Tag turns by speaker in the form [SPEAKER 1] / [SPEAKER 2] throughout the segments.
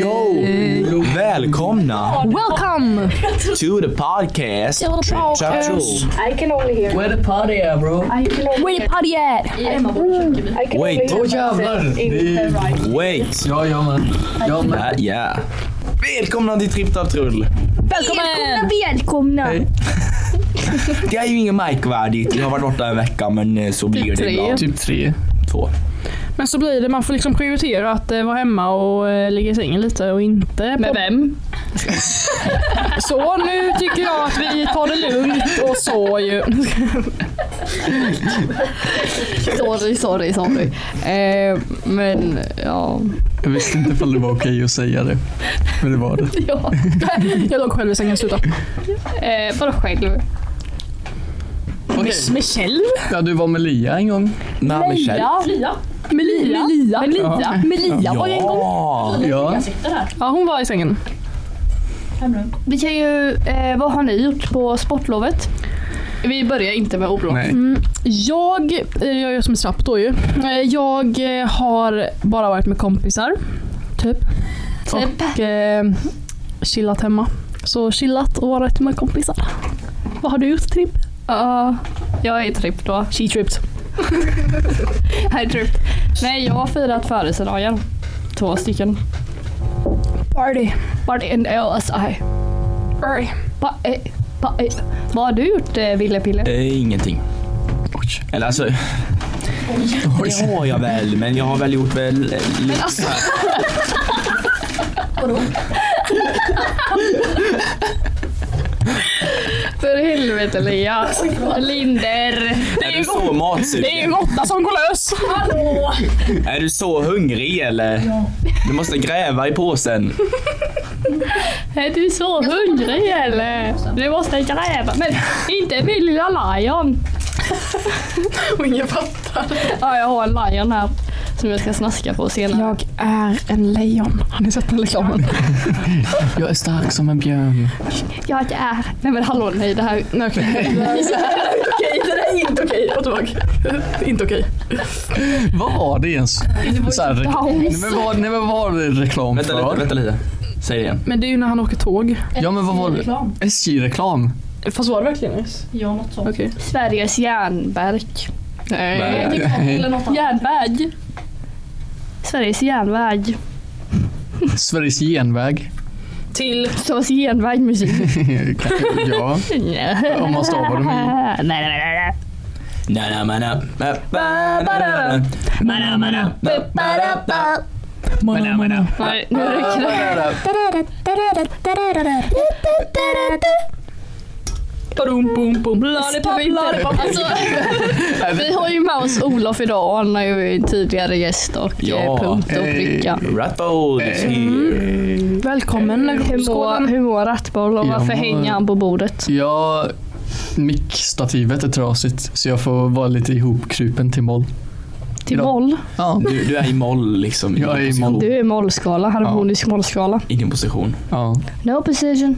[SPEAKER 1] Yo! Välkomna
[SPEAKER 2] Welcome!
[SPEAKER 1] to the podcast!
[SPEAKER 2] To the podcast.
[SPEAKER 3] I can only hear.
[SPEAKER 4] Where the party at bro?
[SPEAKER 3] I can only
[SPEAKER 2] Where the
[SPEAKER 3] hear.
[SPEAKER 2] party at?
[SPEAKER 3] I can
[SPEAKER 1] Wait.
[SPEAKER 3] Only
[SPEAKER 4] Oh,
[SPEAKER 3] hear
[SPEAKER 4] jävlar.
[SPEAKER 3] buzzes in the right.
[SPEAKER 1] Wait!
[SPEAKER 4] Ja, ja man. Ja, man.
[SPEAKER 1] Ja, ja. Välkomna till TrippTappTrull!
[SPEAKER 2] Välkommen!
[SPEAKER 5] Välkomna!
[SPEAKER 1] Det är ju inget märkvärdigt, jag har varit borta en vecka men eh, så blir det
[SPEAKER 2] tre.
[SPEAKER 1] ibland.
[SPEAKER 4] Typ tre.
[SPEAKER 1] Två.
[SPEAKER 6] Men så blir det, man får liksom prioritera att eh, vara hemma och eh, ligga i sängen lite och inte...
[SPEAKER 2] Med vem?
[SPEAKER 6] Så nu tycker jag att vi tar det lugnt och så ju.
[SPEAKER 2] Sorry, sorry, sorry. Eh, men ja.
[SPEAKER 4] Jag visste inte ifall det var okej att säga det. Men det var det.
[SPEAKER 2] ja.
[SPEAKER 6] Jag låg själv i sängen, sluta.
[SPEAKER 2] Eh, vadå själv?
[SPEAKER 6] Michelle?
[SPEAKER 4] Ja, du var med Lia en gång.
[SPEAKER 1] Nej, Michelle.
[SPEAKER 2] Lia?
[SPEAKER 6] Melia?
[SPEAKER 2] Melia? Melia?
[SPEAKER 4] Ja.
[SPEAKER 2] Melia var ju en gång.
[SPEAKER 1] Ja!
[SPEAKER 4] Ja.
[SPEAKER 6] Ja, hon var i sängen.
[SPEAKER 5] Vi kan ju, eh, vad har ni gjort på sportlovet?
[SPEAKER 2] Vi börjar inte med oro.
[SPEAKER 4] Nej.
[SPEAKER 6] Jag, eh, jag gör som snabbt då ju. Eh, Jag eh, har bara varit med kompisar. Typ. Och eh, chillat hemma. Så chillat och varit med kompisar. Vad har du gjort Tripp?
[SPEAKER 5] Ja, jag är tripp då.
[SPEAKER 6] She tripped.
[SPEAKER 5] Jag är tripp. Nej, jag har firat födelsedagar. Två stycken.
[SPEAKER 6] Party.
[SPEAKER 5] Vart en LSI.
[SPEAKER 6] Party.
[SPEAKER 5] Va, eh, va, eh. Vad har du gjort eh, Ville Pille?
[SPEAKER 1] Eh, ingenting. Eller alltså, det har jag väl men jag har väl gjort väl... eh, lite så här.
[SPEAKER 5] För helvete Lia. Linder.
[SPEAKER 1] Är du så matsugen?
[SPEAKER 6] Det är Lotta som går lös.
[SPEAKER 1] Är du så hungrig eller? Du måste gräva i påsen.
[SPEAKER 5] Är du så hungrig eller? Du måste gräva. Men inte min lilla lion.
[SPEAKER 6] Och ingen fattar.
[SPEAKER 5] Ja, jag har en lion här som jag ska snaska på senare.
[SPEAKER 6] Jag är en lejon. Har ni sett den liksom? reklamen?
[SPEAKER 4] Jag är stark som en björn.
[SPEAKER 5] Ja, det är. Nej men hallå, nej det här...
[SPEAKER 6] Nej okej. Okej, det där är inte okej. Och tillbaka. Inte okej.
[SPEAKER 4] Vad var det ens? Så här, reklam- nej, men vad, nej men vad var det reklam
[SPEAKER 1] Vänta lite,
[SPEAKER 4] för?
[SPEAKER 1] vänta lite. Säg det igen.
[SPEAKER 6] Men det är ju när han åker tåg.
[SPEAKER 4] Ja men vad var det? SJ-reklam.
[SPEAKER 6] Fast var det verkligen nyss?
[SPEAKER 3] Ja, något sånt.
[SPEAKER 6] Okej.
[SPEAKER 5] Sveriges järnverk.
[SPEAKER 1] Nej.
[SPEAKER 4] Nej.
[SPEAKER 5] Järnväg. Sveriges järnväg.
[SPEAKER 4] Sveriges genväg.
[SPEAKER 6] Till.
[SPEAKER 5] Sveriges järnvägmusik.
[SPEAKER 4] Kanske- ja.
[SPEAKER 5] Nej.
[SPEAKER 4] Om man stavar dem i.
[SPEAKER 5] nej, nej, nej, nej.
[SPEAKER 1] Na, na, ma, na, ma, ba, na, na, ma, na, ma, na, ma, ba, na, ba, ma, na, ma, na.
[SPEAKER 5] Nej, nu räcker det.
[SPEAKER 6] Badum, bum, bum. Lollipop, lollipop.
[SPEAKER 5] Alltså, vi har ju med oss Olof idag. Han är ju en tidigare gäst och
[SPEAKER 1] Ja.
[SPEAKER 5] eh, punkt och
[SPEAKER 4] Hej.
[SPEAKER 5] pricka.
[SPEAKER 1] Ratbold is here.
[SPEAKER 6] Välkommen.
[SPEAKER 5] Hur mår, hur mår Rattboll och
[SPEAKER 4] Jag
[SPEAKER 5] varför
[SPEAKER 4] mår-
[SPEAKER 5] hänger han på bordet?
[SPEAKER 4] Ja, mickstativet är trasigt så jag får vara lite ihopkrupen till moll.
[SPEAKER 5] Till
[SPEAKER 4] Idag.
[SPEAKER 5] moll?
[SPEAKER 4] Ja.
[SPEAKER 1] Du, du är i moll liksom.
[SPEAKER 4] Jag är i
[SPEAKER 1] din position.
[SPEAKER 4] moll.
[SPEAKER 5] Du är mollskala, harmonisk mollskala.
[SPEAKER 1] I din position.
[SPEAKER 4] ja.
[SPEAKER 5] No precision.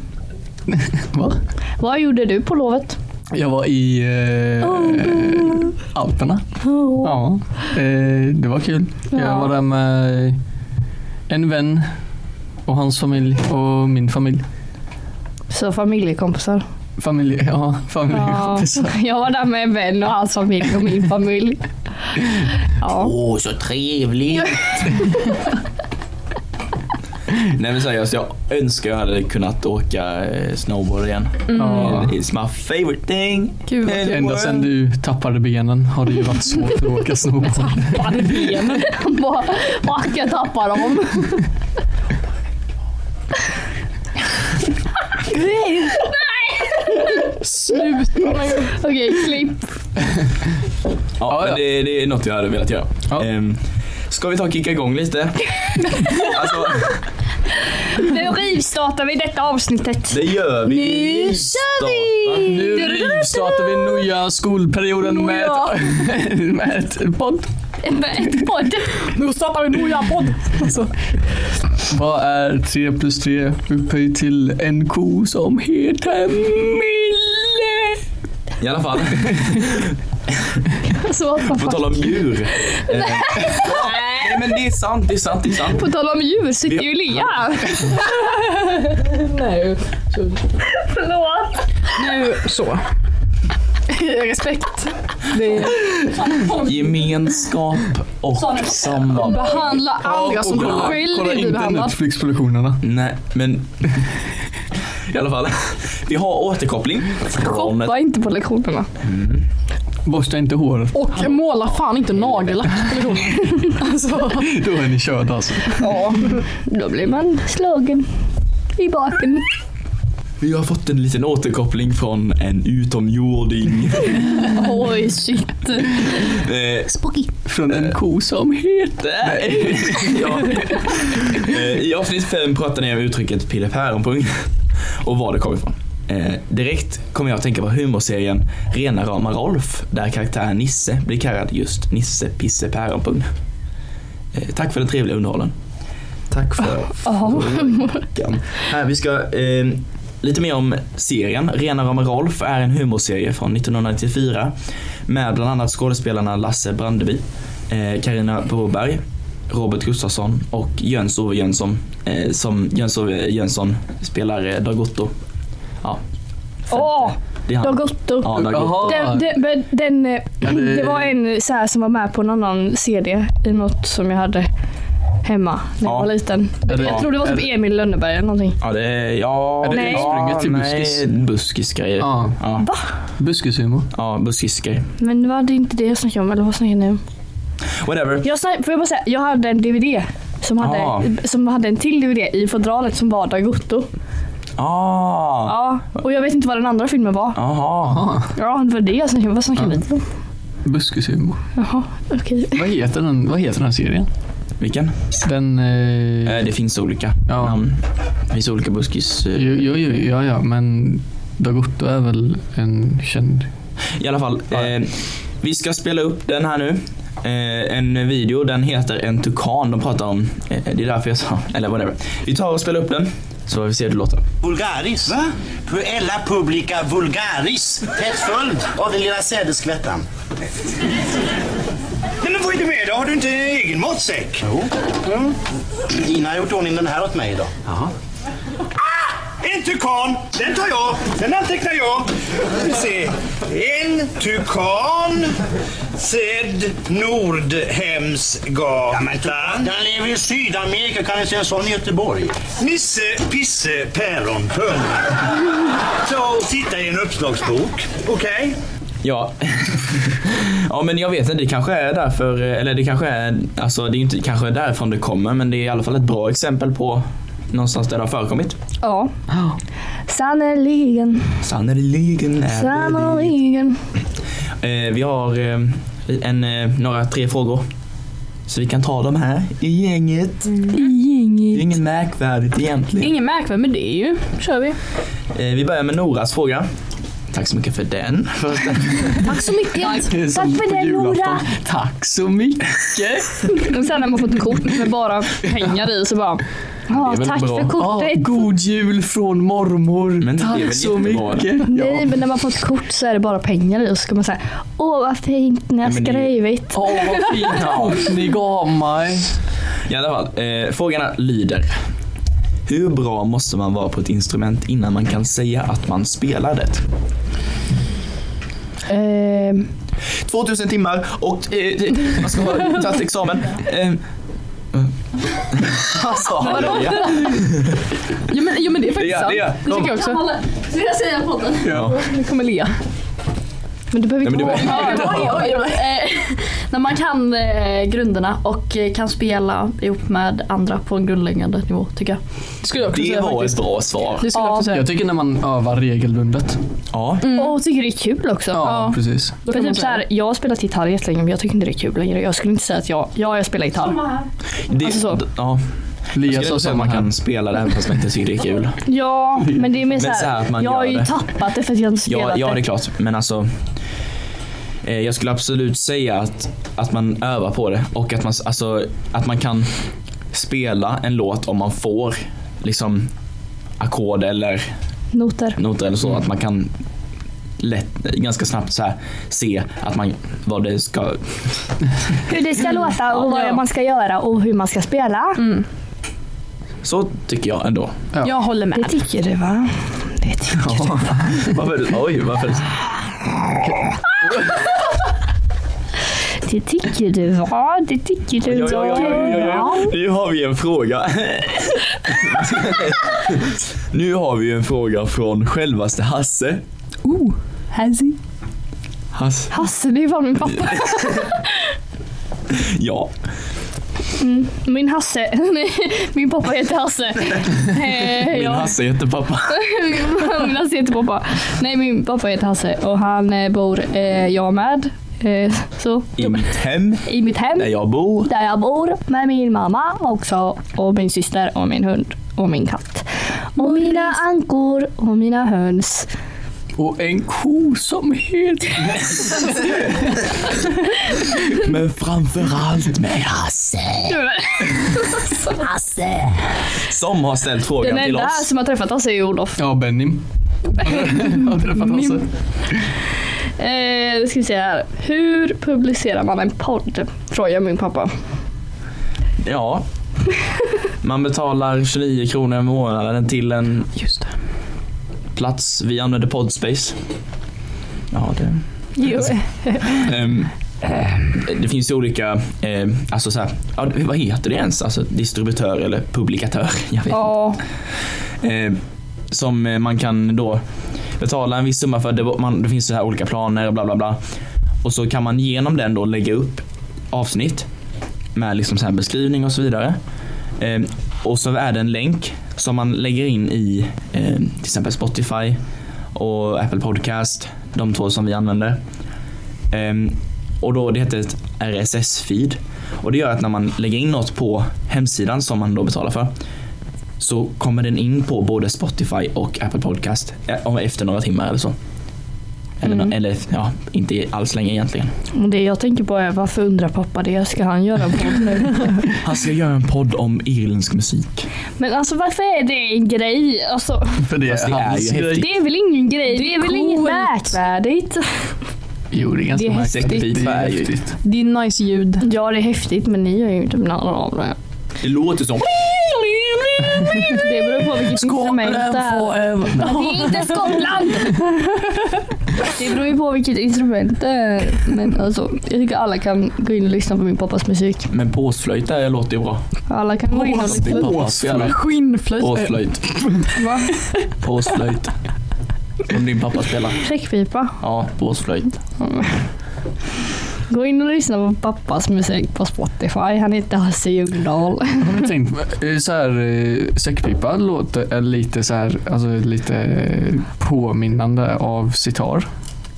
[SPEAKER 4] Va?
[SPEAKER 5] Vad gjorde du på lovet?
[SPEAKER 4] Jag var i eh, Alperna. Ja, eh, det var kul. Jag
[SPEAKER 5] Ja.
[SPEAKER 4] var där med en vän och hans familj och min familj.
[SPEAKER 5] Så familjekompisar.
[SPEAKER 4] Familj, ja, familjekompisar.
[SPEAKER 5] jag var där med en vän och hans familj och min familj. Ja.
[SPEAKER 1] Åh, så trevligt. Nej men seriöst, jag önskar jag hade kunnat åka eh, snowboard igen.
[SPEAKER 4] Ja.
[SPEAKER 1] It's my favorite thing.
[SPEAKER 6] Gud,
[SPEAKER 1] in the
[SPEAKER 4] Ända
[SPEAKER 1] world.
[SPEAKER 4] sedan du tappade benen har det ju varit svårt att åka snowboard.
[SPEAKER 6] Tappade benen.
[SPEAKER 5] Han bara, fuck jag tappar dem.
[SPEAKER 6] Sluta nu.
[SPEAKER 5] Okej, klipp.
[SPEAKER 1] Ja,
[SPEAKER 4] Ja,
[SPEAKER 1] men
[SPEAKER 4] ja.
[SPEAKER 1] Det, det är något jag hade velat göra.
[SPEAKER 4] Ja.
[SPEAKER 1] Ehm, ska vi ta och kicka igång lite? alltså,
[SPEAKER 5] Nu rivstartar vi detta avsnittet.
[SPEAKER 1] det gör vi. Nu kör vi!
[SPEAKER 4] Nu rivstartar vi nya skolperioden med ett, med ett podd.
[SPEAKER 7] Ett podd.
[SPEAKER 6] Nu startar vi en nya podd! Alltså.
[SPEAKER 4] Vad är 3 plus 3 upphöjt till en ko som heter Mille?
[SPEAKER 1] I alla fall,
[SPEAKER 5] Alltså,
[SPEAKER 6] Så what the
[SPEAKER 1] på
[SPEAKER 6] fuck.
[SPEAKER 1] tal om djur. Eh, Nej men det är sant, det är sant, det är sant.
[SPEAKER 5] På tal om djur sitter ju Lea här.
[SPEAKER 6] Nej.
[SPEAKER 2] Förlåt.
[SPEAKER 6] Nu så. Respekt. Det är...
[SPEAKER 1] Gemenskap och sammanhang.
[SPEAKER 5] Behandla andra som du
[SPEAKER 4] kolla,
[SPEAKER 5] själv
[SPEAKER 4] kolla
[SPEAKER 5] vill bli
[SPEAKER 4] inte
[SPEAKER 5] behandlad.
[SPEAKER 4] Netflix-produktionerna.
[SPEAKER 1] Nej men i alla fall. Vi har återkoppling från ett
[SPEAKER 5] Shoppa inte på lektionerna.
[SPEAKER 4] Borsta inte håret,
[SPEAKER 6] Och måla fan inte nagellack på lektionen. Alltså.
[SPEAKER 4] då är ni körda alltså.
[SPEAKER 5] Ja, då blir man slagen i baken.
[SPEAKER 1] Vi har fått en liten återkoppling från en utomjording.
[SPEAKER 5] Oj shit.
[SPEAKER 1] Eh,
[SPEAKER 4] Från en ko som
[SPEAKER 1] där. ja. eh, I avsnitt 5 pratade ni om uttrycket pille päronpung och var det kom ifrån. Eh, direkt kommer jag att tänka på humorserien Rena rama Rolf där karaktären Nisse blir kallad just Nisse Pisse Päronpung. Eh, tack för den trevliga underhållen. Tack för frågan. Här, vi ska eh, lite mer om serien. Rena rama Rolf är en humorserie från 1994 med bland annat skådespelarna Lasse Brandeby, eh, Carina Broberg, Robert Gustafsson och Jöns-Ove Jönsson. Eh, som Jöns-Ove Jönsson spelar eh, Dagotto. Ja. eh,
[SPEAKER 5] Åh,
[SPEAKER 1] Det är han.
[SPEAKER 5] Dagotto.
[SPEAKER 1] Ja, Dagotto.
[SPEAKER 4] Jaha.
[SPEAKER 5] Den, den, men den, eh,
[SPEAKER 4] det-
[SPEAKER 5] det var en så här som var med på en annan CD i något som jag hade hemma när
[SPEAKER 1] Ja.
[SPEAKER 5] jag var liten.
[SPEAKER 4] Är det-
[SPEAKER 5] Jag tror det var
[SPEAKER 4] är
[SPEAKER 5] typ Emil i Lönneberg eller någonting.
[SPEAKER 1] Ja, det är, ja,
[SPEAKER 4] Är det
[SPEAKER 1] nej.
[SPEAKER 4] ursprunget till
[SPEAKER 1] Ja,
[SPEAKER 4] buskis?
[SPEAKER 1] Nej, buskisgrejer.
[SPEAKER 4] Ja.
[SPEAKER 1] Ja,
[SPEAKER 4] Buskishumor.
[SPEAKER 1] ja buskisgrejer.
[SPEAKER 5] Men var det inte det jag snackade om eller vad snackade ni om?
[SPEAKER 1] Whatever.
[SPEAKER 5] Jag, snack, får jag bara säga, jag hade en DVD som hade,
[SPEAKER 1] Ah.
[SPEAKER 5] som hade en till DVD i fodralet som var Dagotto.
[SPEAKER 1] Ah.
[SPEAKER 5] Ja, och jag vet inte vad den andra filmen var.
[SPEAKER 1] Jaha.
[SPEAKER 4] Aha,
[SPEAKER 5] Ja, det var det jag snackade om. Vad snackade vi om?
[SPEAKER 4] buskishumor.
[SPEAKER 5] Jaha, okej.
[SPEAKER 4] Vad heter den, vad heter den här serien?
[SPEAKER 1] Vilken?
[SPEAKER 4] Den... Eh,
[SPEAKER 1] Eh, det finns olika
[SPEAKER 4] Ja.
[SPEAKER 1] namn. Det finns olika buskis. eh,
[SPEAKER 4] jo, jo, jo, ja, ja, men Dagotto är väl en känd...
[SPEAKER 1] I alla fall.
[SPEAKER 4] Ja.
[SPEAKER 1] Eh, vi ska spela upp den här nu. Eh, en video, den heter En tukan de pratar om. Eh, det är därför jag sa, eller whatever. Vi tar och spelar upp den. Så får vi se hur det låter.
[SPEAKER 8] Vulgaris. Va? Puella publica vulgaris. Tätt följd av den lilla sädesskvättan. Men vad är det med dig? Har du inte en egen matsäck? Jo. Mm. Ina har gjort ordning den här åt mig idag. Jaha. Ah! En tukan! Den tar jag. Den antecknar jag. Vi ser. En tukan. Sedd Nordhemsgatan. Den lever i Sydamerika. Kan inte en sån i Göteborg? Nisse Pisse Päronpung. Så titta i en uppslagsbok. Okej?
[SPEAKER 1] Ja. ja men jag vet inte, det kanske är därför, eh, eller det kanske är, alltså det är ju inte kanske därifrån det kommer men det är i alla fall ett bra exempel på någonstans där det har förekommit.
[SPEAKER 5] Ja. Sannerligen,
[SPEAKER 1] Sannerligen är det det.
[SPEAKER 5] sannerligen.
[SPEAKER 1] Eh, vi har eh, en, eh, några tre frågor. Så vi kan ta dem här i gänget. Det är inget märkvärdigt egentligen.
[SPEAKER 6] Ingen märkvärd med det ju. kör vi.
[SPEAKER 1] Eh, vi börjar med Noras fråga. Tack så mycket för den.
[SPEAKER 5] Tack så mycket.
[SPEAKER 4] Det är som
[SPEAKER 5] för
[SPEAKER 4] på
[SPEAKER 5] det, Nora.
[SPEAKER 4] julafton. Tack så mycket.
[SPEAKER 5] Och sen när man fått ett kort med bara pengar i så bara. Ja,
[SPEAKER 1] väl
[SPEAKER 5] tack
[SPEAKER 1] bra.
[SPEAKER 5] för
[SPEAKER 4] Ah,
[SPEAKER 5] kortet.
[SPEAKER 4] god jul från mormor.
[SPEAKER 1] Men det är väl
[SPEAKER 4] Tack så
[SPEAKER 1] jättebra.
[SPEAKER 4] mycket. Ja.
[SPEAKER 5] Nej men när man fått kort så är det bara pengar i och så ska man säga Åh vad fint ni har
[SPEAKER 1] men det är ju-
[SPEAKER 5] skrivit.
[SPEAKER 4] Åh vad fint kort ni gav mig.
[SPEAKER 1] I alla fall, eh, frågorna lyder. Hur bra måste man vara på ett instrument innan man kan säga att man spelar det?
[SPEAKER 5] Ehm,
[SPEAKER 1] 2000 timmar och eh, man ska ha tagit examen. Eh, alltså, halleluja.
[SPEAKER 6] Ja men, ja, men det
[SPEAKER 1] Det
[SPEAKER 6] är faktiskt
[SPEAKER 1] gör,
[SPEAKER 6] sant.
[SPEAKER 1] det gör.
[SPEAKER 6] Det tycker jag också.
[SPEAKER 7] Ska jag säga podden?
[SPEAKER 1] Ja.
[SPEAKER 6] Nu kommer Lea.
[SPEAKER 5] men du behöver
[SPEAKER 1] Nej,
[SPEAKER 5] inte
[SPEAKER 1] men det-
[SPEAKER 5] vara
[SPEAKER 7] När man kan eh, grunderna och eh, kan spela ihop med andra på en grundläggande nivå tycker jag.
[SPEAKER 6] Skulle jag också
[SPEAKER 1] Det
[SPEAKER 6] säga
[SPEAKER 1] var
[SPEAKER 6] faktiskt.
[SPEAKER 1] ett bra svar.
[SPEAKER 6] Det skulle jag också säga.
[SPEAKER 4] Jag tycker när man övar regelbundet.
[SPEAKER 1] Ja.
[SPEAKER 6] Mm,
[SPEAKER 5] Och tycker det är kul också.
[SPEAKER 4] Ja, precis.
[SPEAKER 6] Då
[SPEAKER 5] För
[SPEAKER 6] kan man
[SPEAKER 5] typ så
[SPEAKER 6] säga
[SPEAKER 5] här, jag har spelat gitarr jättelänge men jag tycker inte det är kul längre. Jag skulle inte säga att jag, ja jag spelar gitarr.
[SPEAKER 1] Det,
[SPEAKER 5] Alltså så.
[SPEAKER 1] d- Ja.
[SPEAKER 4] Lea
[SPEAKER 1] Jag skulle
[SPEAKER 4] sa
[SPEAKER 1] nog säga att
[SPEAKER 4] samma
[SPEAKER 1] man
[SPEAKER 4] här.
[SPEAKER 1] kan spela det även fast man inte tycker det är kul.
[SPEAKER 5] Ja men det är mer
[SPEAKER 1] så här
[SPEAKER 5] såhär,
[SPEAKER 1] att man
[SPEAKER 5] jag har
[SPEAKER 1] gör
[SPEAKER 5] ju
[SPEAKER 1] det.
[SPEAKER 5] tappat det för att jag inte spelat
[SPEAKER 1] Ja, ja det är klart. Men alltså. Eh, Jag skulle absolut säga att, att man övar på det och att man, s- alltså, att man kan spela en låt om man får liksom ackord eller
[SPEAKER 5] Noter.
[SPEAKER 1] noter eller så. Att man kan lätt, ganska snabbt så här, se att man, vad det ska...
[SPEAKER 5] Hur det
[SPEAKER 1] Mm.
[SPEAKER 5] ska låta och vad man ska göra och hur man ska spela.
[SPEAKER 1] Så tycker jag ändå.
[SPEAKER 6] Jag håller
[SPEAKER 5] Det
[SPEAKER 6] med.
[SPEAKER 5] tycker du va? Det tycker
[SPEAKER 1] Ja. Varför, oj, varför?
[SPEAKER 5] Det tycker du va? Det tycker du
[SPEAKER 1] Ja, ja, ja, ja, ja, ja. Nu har vi en fråga. nu har vi en fråga från självaste Hasse.
[SPEAKER 6] Oh, Hazzy.
[SPEAKER 1] Hasse.
[SPEAKER 5] Hasse, det är fan min pappa.
[SPEAKER 1] Ja.
[SPEAKER 5] Min Hasse. Nej, min pappa heter Hasse. Eh,
[SPEAKER 1] Min
[SPEAKER 5] ja.
[SPEAKER 1] Hasse heter pappa.
[SPEAKER 5] min Hasse heter pappa. Nej, min pappa heter Hasse och han eh, bor eh, jag med. Eh, så.
[SPEAKER 1] I mitt hem,
[SPEAKER 5] I mitt hem.
[SPEAKER 1] där jag bor.
[SPEAKER 5] där jag bor med min mamma också och min syster och min hund och min katt. Och mina ankor och mina höns.
[SPEAKER 4] Och en ko som heter...
[SPEAKER 1] Men framförallt med Hasse.
[SPEAKER 5] Hasse.
[SPEAKER 1] Som har ställt frågan
[SPEAKER 5] Den
[SPEAKER 1] till
[SPEAKER 5] enda här
[SPEAKER 1] oss.
[SPEAKER 5] som har träffat oss är ju Olof.
[SPEAKER 4] Ja, Benny. Har du träffat Hasse?
[SPEAKER 5] Eh, det ska vi se här. Hur publicerar man en podd? Frågar min pappa.
[SPEAKER 1] Ja. Man betalar 29 kronor i månaden till en
[SPEAKER 6] Just det.
[SPEAKER 1] plats. Vi använder Podspace. Ja, det...
[SPEAKER 5] Jo.
[SPEAKER 1] Ehm,
[SPEAKER 6] Ehm.
[SPEAKER 1] det finns ju olika, eh, alltså så här, ja, det- vad heter det ens? Alltså distributör eller publikatör? Jag vet
[SPEAKER 5] Ja,
[SPEAKER 1] inte. Ehm, som eh, man kan då betala en viss summa för. Det, var- man, det finns så här olika planer och bla bla bla. Och så kan man genom den då lägga upp avsnitt med liksom så här beskrivning och så vidare. Ehm, och så är det en länk som man lägger in i eh, till exempel Spotify och Apple Podcast, de två som vi använder. Ehm, och då det heter ett RSS-feed. Och det gör att när man lägger in något på hemsidan som man då betalar för så kommer den in på både Spotify och Apple Podcast eh, om- efter några timmar eller så. Eller, nå-
[SPEAKER 4] Mm.
[SPEAKER 1] eller ja, inte alls länge egentligen.
[SPEAKER 5] och det jag tänker på är varför undrar pappa det? Ska han göra en podd nu?
[SPEAKER 1] Han ska göra en podd om irländsk musik.
[SPEAKER 5] Men alltså varför är det en grej? Alltså,
[SPEAKER 4] För det
[SPEAKER 1] Fast det
[SPEAKER 4] är
[SPEAKER 1] är
[SPEAKER 4] hans
[SPEAKER 1] ju
[SPEAKER 4] grej.
[SPEAKER 1] häftigt.
[SPEAKER 5] det är väl ingen grej? Det är, väl inget
[SPEAKER 6] coolt.
[SPEAKER 5] märkvärdigt?
[SPEAKER 4] Jo, det är ganska
[SPEAKER 6] Det är
[SPEAKER 4] märkligt.
[SPEAKER 1] häftigt.
[SPEAKER 4] Det är häftigt.
[SPEAKER 6] Det är nice ljud.
[SPEAKER 5] Ja, det är häftigt men ni gör ju inte någon av det.
[SPEAKER 1] Det låter som...
[SPEAKER 5] Det beror på vilket instrument det är.
[SPEAKER 4] forever.
[SPEAKER 5] Men det är inte Skottland! Det beror ju på vilket instrument det är. Men alltså, jag tycker alla kan gå in och lyssna på min pappas musik.
[SPEAKER 1] Men påsflöjt där låter ju bra.
[SPEAKER 4] Eh,
[SPEAKER 5] Alla kan gå in och
[SPEAKER 1] Det är
[SPEAKER 5] lyssna.
[SPEAKER 1] pappas jävla
[SPEAKER 6] Skinnflöjt.
[SPEAKER 1] Påsflöjt.
[SPEAKER 5] Va?
[SPEAKER 1] Påsflöjt. Som din pappa spelar.
[SPEAKER 5] Fräckpipa.
[SPEAKER 1] Ja, påsflöjt.
[SPEAKER 5] Gå in och lyssna på pappas musik på Spotify. Han heter Hasse Ljungdahl.
[SPEAKER 4] Har ni tänkt eh, så här, eh, säckpipa låter är lite så här, alltså lite eh, påminnande av sitar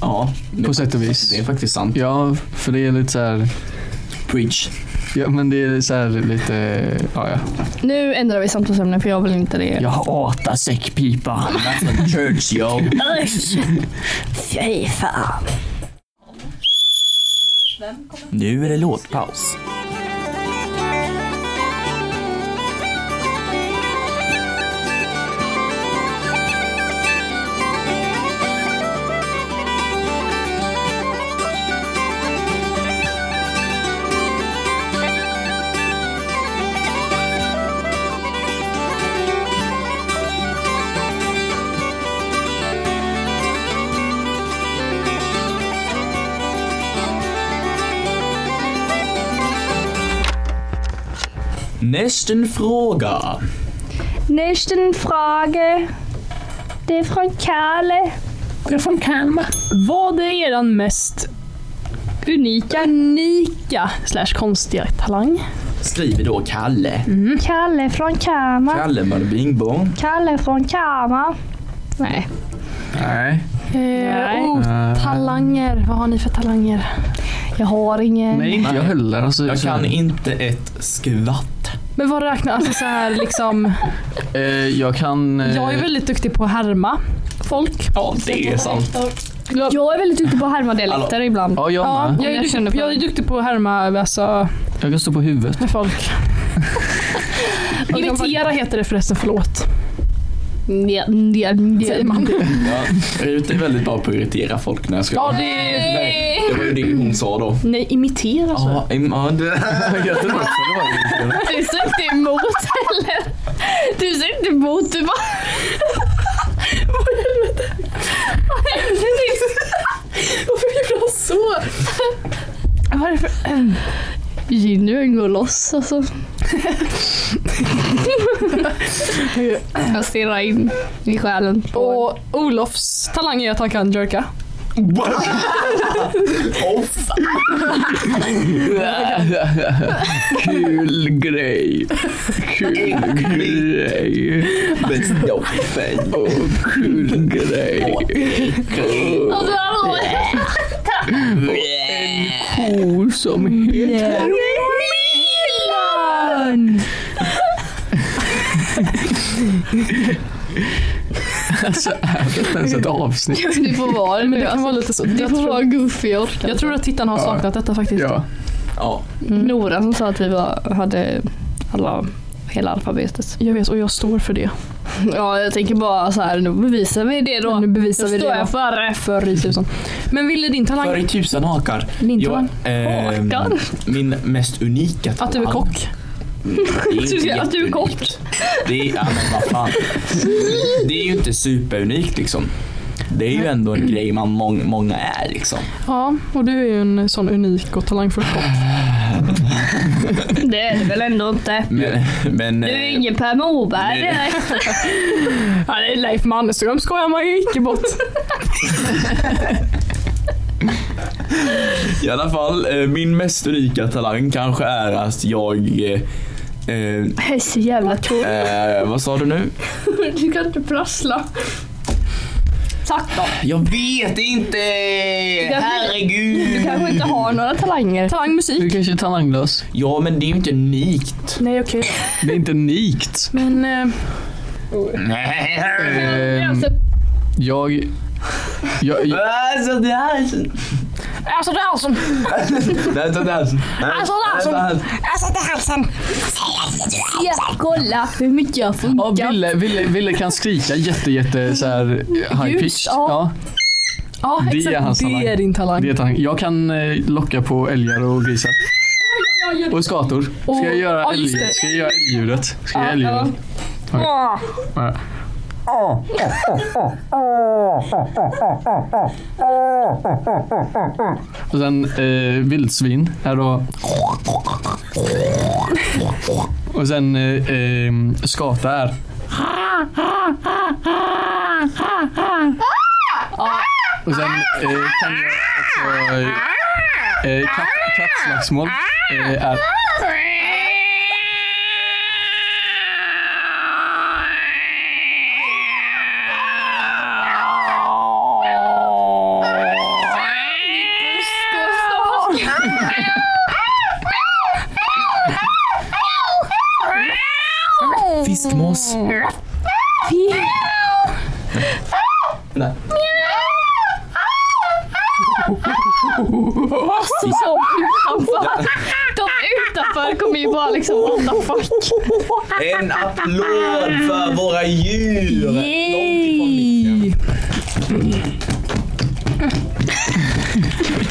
[SPEAKER 1] Ja,
[SPEAKER 4] på
[SPEAKER 1] det,
[SPEAKER 4] sätt och vis.
[SPEAKER 1] det är faktiskt sant.
[SPEAKER 4] Ja, för det är lite så här,
[SPEAKER 1] Preach.
[SPEAKER 4] ja men det är så här lite, ja ja.
[SPEAKER 5] Nu ändrar vi samtalsämne för jag vill inte det.
[SPEAKER 4] Jag hatar säckpipa.
[SPEAKER 1] That's a church yo.
[SPEAKER 5] Fy fan.
[SPEAKER 1] Nu är det låtpaus. Nästa fråga.
[SPEAKER 2] Nächsten Frage. Det är från Kalle.
[SPEAKER 6] Vad är eran mest unika, unika slash konstiga talang?
[SPEAKER 1] Skriver då Kalle.
[SPEAKER 4] Mm.
[SPEAKER 2] Kalle från Kama.
[SPEAKER 1] Kalle Mölbingbo.
[SPEAKER 2] Kalle från Kama.
[SPEAKER 5] Nej.
[SPEAKER 4] Nej.
[SPEAKER 5] Nej.
[SPEAKER 6] oh,
[SPEAKER 4] Eh,
[SPEAKER 6] talanger. Vad har ni för talanger?
[SPEAKER 5] Jag har ingen.
[SPEAKER 4] Nej, inte jag heller. Alltså,
[SPEAKER 1] Jag
[SPEAKER 4] så här-
[SPEAKER 1] kan inte ett skvatt.
[SPEAKER 6] Men vad räknar, alltså så här liksom.
[SPEAKER 4] Eh, jag kan... eh,
[SPEAKER 6] Jag är väldigt duktig på att härma folk.
[SPEAKER 1] Ja, det är sant.
[SPEAKER 6] Jag,
[SPEAKER 5] Jag är väldigt duktig på att härma dialekter ibland.
[SPEAKER 4] Ja, jag
[SPEAKER 6] ja,
[SPEAKER 4] med.
[SPEAKER 6] jag, är
[SPEAKER 5] Jag känner
[SPEAKER 6] duktig,
[SPEAKER 5] för
[SPEAKER 6] jag
[SPEAKER 5] det.
[SPEAKER 6] är duktig på att härma alltså,
[SPEAKER 4] Jag kan stå på huvudet.
[SPEAKER 6] med folk. Imitera heter det förresten, förlåt.
[SPEAKER 5] Ja, ja, ja.
[SPEAKER 6] Säger man.
[SPEAKER 1] Ja, Rut är väldigt bra på att irritera folk när jag ska...
[SPEAKER 6] Ja, det är...
[SPEAKER 1] Nej, det var ju det hon sa då.
[SPEAKER 5] Nej, imitera så.
[SPEAKER 1] Ja, im- ja, det... Jag tror också det var irriterande.
[SPEAKER 5] Du sa inte emot heller. Du sa inte emot, du bara... Vad i helvete? Vad hände nyss? Varför gjorde han så?
[SPEAKER 6] Varför?
[SPEAKER 5] Ginny den går loss alltså. Jag stirrar in i själen. på-
[SPEAKER 6] Och Olofs talang är att han kan jerka.
[SPEAKER 4] Kul grej. Kul grej.
[SPEAKER 1] Bäst jag fan.
[SPEAKER 4] Åh, kul grej. Ko som heter... Alltså, är det inte ens ett avsnitt?
[SPEAKER 5] Det får vara
[SPEAKER 6] Men
[SPEAKER 5] nu,
[SPEAKER 6] det kan
[SPEAKER 5] alltså.
[SPEAKER 6] vara lite så.
[SPEAKER 5] Det
[SPEAKER 6] Jag
[SPEAKER 5] får vara
[SPEAKER 6] tror,
[SPEAKER 5] goofy jag orkar
[SPEAKER 6] jag
[SPEAKER 5] inte. Mm.
[SPEAKER 6] tror att tittarna har
[SPEAKER 4] Ja.
[SPEAKER 6] saknat detta faktiskt.
[SPEAKER 4] Ja.
[SPEAKER 1] Ja,
[SPEAKER 5] Nora som sa att vi var, hade alla, hela alfabetet.
[SPEAKER 6] Jag vet och jag står för det.
[SPEAKER 5] Ja, jag tänker bara så här, nu bevisar vi det då.
[SPEAKER 6] Men nu bevisar vi det.
[SPEAKER 5] står
[SPEAKER 6] då.
[SPEAKER 5] jag för det.
[SPEAKER 6] För i tusan. Men ville din talang...
[SPEAKER 1] för i tusan hakar.
[SPEAKER 6] Din
[SPEAKER 1] Jag,
[SPEAKER 6] talang?
[SPEAKER 1] ehm,
[SPEAKER 5] Hakar?
[SPEAKER 1] min mest unika
[SPEAKER 6] Att du är
[SPEAKER 1] talang-
[SPEAKER 6] kock.
[SPEAKER 1] Det är
[SPEAKER 5] Du
[SPEAKER 1] inte
[SPEAKER 5] ska- att du är kock.
[SPEAKER 1] jätteunikt. Det är, ja, men vad fan. Det är ju inte superunikt liksom. Det är ju ändå en grej man mång, många är liksom.
[SPEAKER 6] Ja, och du är ju en sån unik och talangfull kock.
[SPEAKER 5] Det är det väl ändå inte.
[SPEAKER 1] Men, men
[SPEAKER 5] Du är
[SPEAKER 1] eh,
[SPEAKER 5] ingen Per Morberg
[SPEAKER 1] Nej.
[SPEAKER 5] direkt.
[SPEAKER 6] Ja, det är Leif Mannerström skojar man ju icke bort.
[SPEAKER 1] i alla fall, eh, min mest unika talang kanske är att jag eh, eh,
[SPEAKER 5] Jag är så jävla tråkig.
[SPEAKER 1] eh, vad sa du nu?
[SPEAKER 5] Du kan inte prassla. Tack då.
[SPEAKER 1] Jag vet inte!
[SPEAKER 5] kanske- Du
[SPEAKER 1] Herregud!
[SPEAKER 5] kanske inte har några talanger.
[SPEAKER 6] Talang musik.
[SPEAKER 4] Du är kanske är talanglös.
[SPEAKER 1] Ja men det är ju inte unikt.
[SPEAKER 6] Nej okej.
[SPEAKER 4] Det är inte nikt.
[SPEAKER 6] Men eh,
[SPEAKER 1] Nej.
[SPEAKER 4] Ehm,
[SPEAKER 5] Alltså,
[SPEAKER 4] jag... Jag, jag,
[SPEAKER 1] Alltså det här är så...
[SPEAKER 6] alltså det är alltså...
[SPEAKER 1] Det är så det är så... Alltså det är så...
[SPEAKER 5] Ja, kolla hur mycket jag
[SPEAKER 4] ja,
[SPEAKER 5] funkar.
[SPEAKER 4] Ville, Ville, Ville kan skrika jätte, jätte så här eh, high pitch. Ja,
[SPEAKER 6] ja. Ja
[SPEAKER 4] Det är
[SPEAKER 6] exakt,
[SPEAKER 4] hans
[SPEAKER 6] det
[SPEAKER 4] talang.
[SPEAKER 6] är din talang.
[SPEAKER 4] det är talang. Jag kan eh, locka på älgar och grisar. Och skator. Ska jag göra
[SPEAKER 6] ja, just
[SPEAKER 4] älg-
[SPEAKER 6] det.
[SPEAKER 4] ska jag göra älgljudet? Ska jag göra älgljudet? Ja. Och sen eh, vildsvin är då... Och sen eh, eh, skata är... Och sen eh, kan jag också... Eh, eh, katt, kattslagsmål eh, är...
[SPEAKER 1] Fiskmås. Nej.
[SPEAKER 5] De utanför kommer ju bara liksom what the fuck.
[SPEAKER 1] En applåd för våra djur! Långt ifrån micken.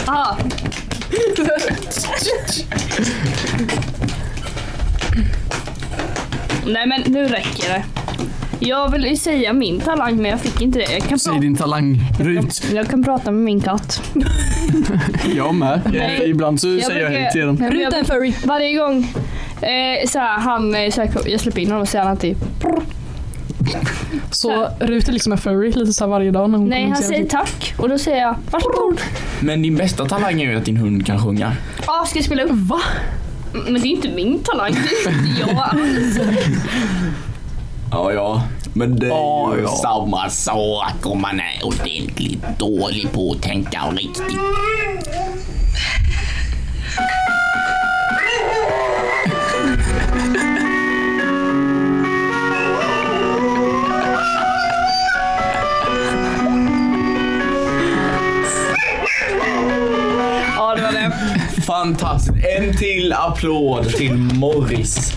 [SPEAKER 5] Ah. Nej men nu räcker det. Jag ville ju säga min talang men jag fick inte det. Jag kan,
[SPEAKER 4] Säg din talang, Rut.
[SPEAKER 5] pra- jag kan prata med min katt.
[SPEAKER 4] Jag med. Eh, Ibland så säger jag hej till den.
[SPEAKER 5] Nej, men jag-
[SPEAKER 6] Rutan furry.
[SPEAKER 5] Varje gång eh, så här, han eh, söker, jag släpper in honom och säger han typ- alltid
[SPEAKER 6] Så Rut är liksom en furry lite så här varje dag när hon typ
[SPEAKER 5] Nej
[SPEAKER 6] kommer
[SPEAKER 5] han
[SPEAKER 6] till
[SPEAKER 5] säger
[SPEAKER 6] henne.
[SPEAKER 5] tack och då säger jag varsågod.
[SPEAKER 1] Men din bästa talang är ju att din hund kan sjunga.
[SPEAKER 5] Ja, ska jag spela upp? Va? Men det är inte min talang. Det är inte jag.
[SPEAKER 1] Ja, ja. Men det är
[SPEAKER 4] Ja,
[SPEAKER 1] ju
[SPEAKER 4] ja.
[SPEAKER 1] samma sak om man är ordentligt dålig på att tänka och riktigt. fantastiskt. En till applåd till Morris.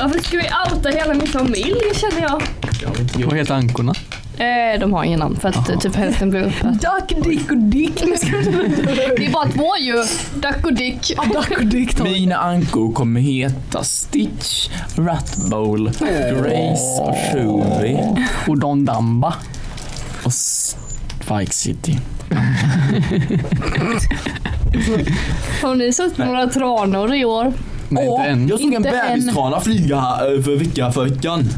[SPEAKER 5] Varför ska vi outa hela min familj känner jag?
[SPEAKER 1] Det har vi inte gjort.
[SPEAKER 4] Vad heter ankorna?
[SPEAKER 5] Eh, de har ingen namn för att eh, typ hälften blev uppätna.
[SPEAKER 6] Duck, dick och dick.
[SPEAKER 5] Det är bara två ju. Duck och Dick.
[SPEAKER 6] Duck och dick.
[SPEAKER 1] Mina ankor kommer heta Stitch, Ratbowl, Grace och Shuby
[SPEAKER 4] Och Don Damba.
[SPEAKER 1] och Spike City.
[SPEAKER 5] Har ni sett några tranor i år?
[SPEAKER 4] Nej, inte än.
[SPEAKER 1] Jag såg en
[SPEAKER 6] Inte än.
[SPEAKER 1] bebistrana flyga eh, för vecka för veckan.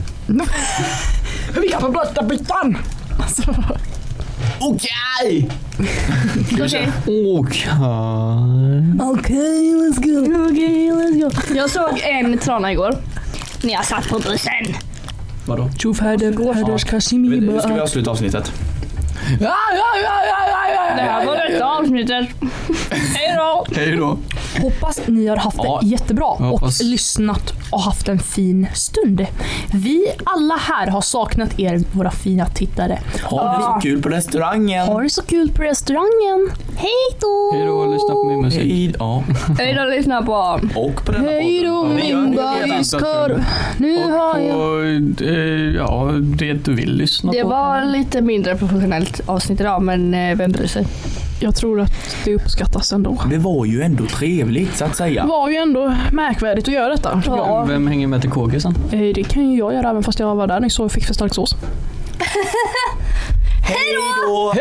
[SPEAKER 6] Vilka på blöta bytan!
[SPEAKER 1] Alltså, Okej!
[SPEAKER 5] Okej.
[SPEAKER 4] Okej.
[SPEAKER 6] Okej, let's go. Okej, let's go.
[SPEAKER 5] Jag såg en trana igår. När jag satt på bussen.
[SPEAKER 1] Vadå?
[SPEAKER 6] Tjoff häder, häders
[SPEAKER 1] Nu ska vi
[SPEAKER 6] kashimi.
[SPEAKER 1] avsluta avsnittet.
[SPEAKER 4] Ja, ja, ja, ja, ja, ja,
[SPEAKER 5] Det
[SPEAKER 4] ja.
[SPEAKER 5] här var detta avsnittet. Hej då!
[SPEAKER 4] Hej då.
[SPEAKER 6] Hoppas ni har haft
[SPEAKER 1] Ja,
[SPEAKER 6] det jättebra och
[SPEAKER 4] hoppas.
[SPEAKER 6] lyssnat och haft en fin stund. Vi alla här har saknat er, våra fina tittare.
[SPEAKER 1] Ha det så kul på restaurangen.
[SPEAKER 6] Ha det så kul på restaurangen. Hej då!
[SPEAKER 4] Hej då, lyssna på min musik.
[SPEAKER 1] Hej ja.
[SPEAKER 5] Hej då lyssna på
[SPEAKER 1] Och på denna
[SPEAKER 6] Hej då
[SPEAKER 1] podden. Ja, det
[SPEAKER 6] min
[SPEAKER 1] gör vi.
[SPEAKER 6] bajskorv. Nu har jag...
[SPEAKER 4] Och, eh, ja, det du vill lyssna
[SPEAKER 5] Det
[SPEAKER 4] på.
[SPEAKER 5] var lite mindre professionellt avsnitt idag men eh, vem bryr sig?
[SPEAKER 6] Jag tror att det uppskattas ändå.
[SPEAKER 1] Det var ju ändå trevligt så att
[SPEAKER 6] Det
[SPEAKER 1] säga.
[SPEAKER 6] var ju ändå märkvärdigt att göra detta.
[SPEAKER 4] Vem- Vem hänger med till KG sen?
[SPEAKER 6] Eh, Det kan ju jag göra även fast jag var där nyss och fick för stark sås.
[SPEAKER 1] Hej då!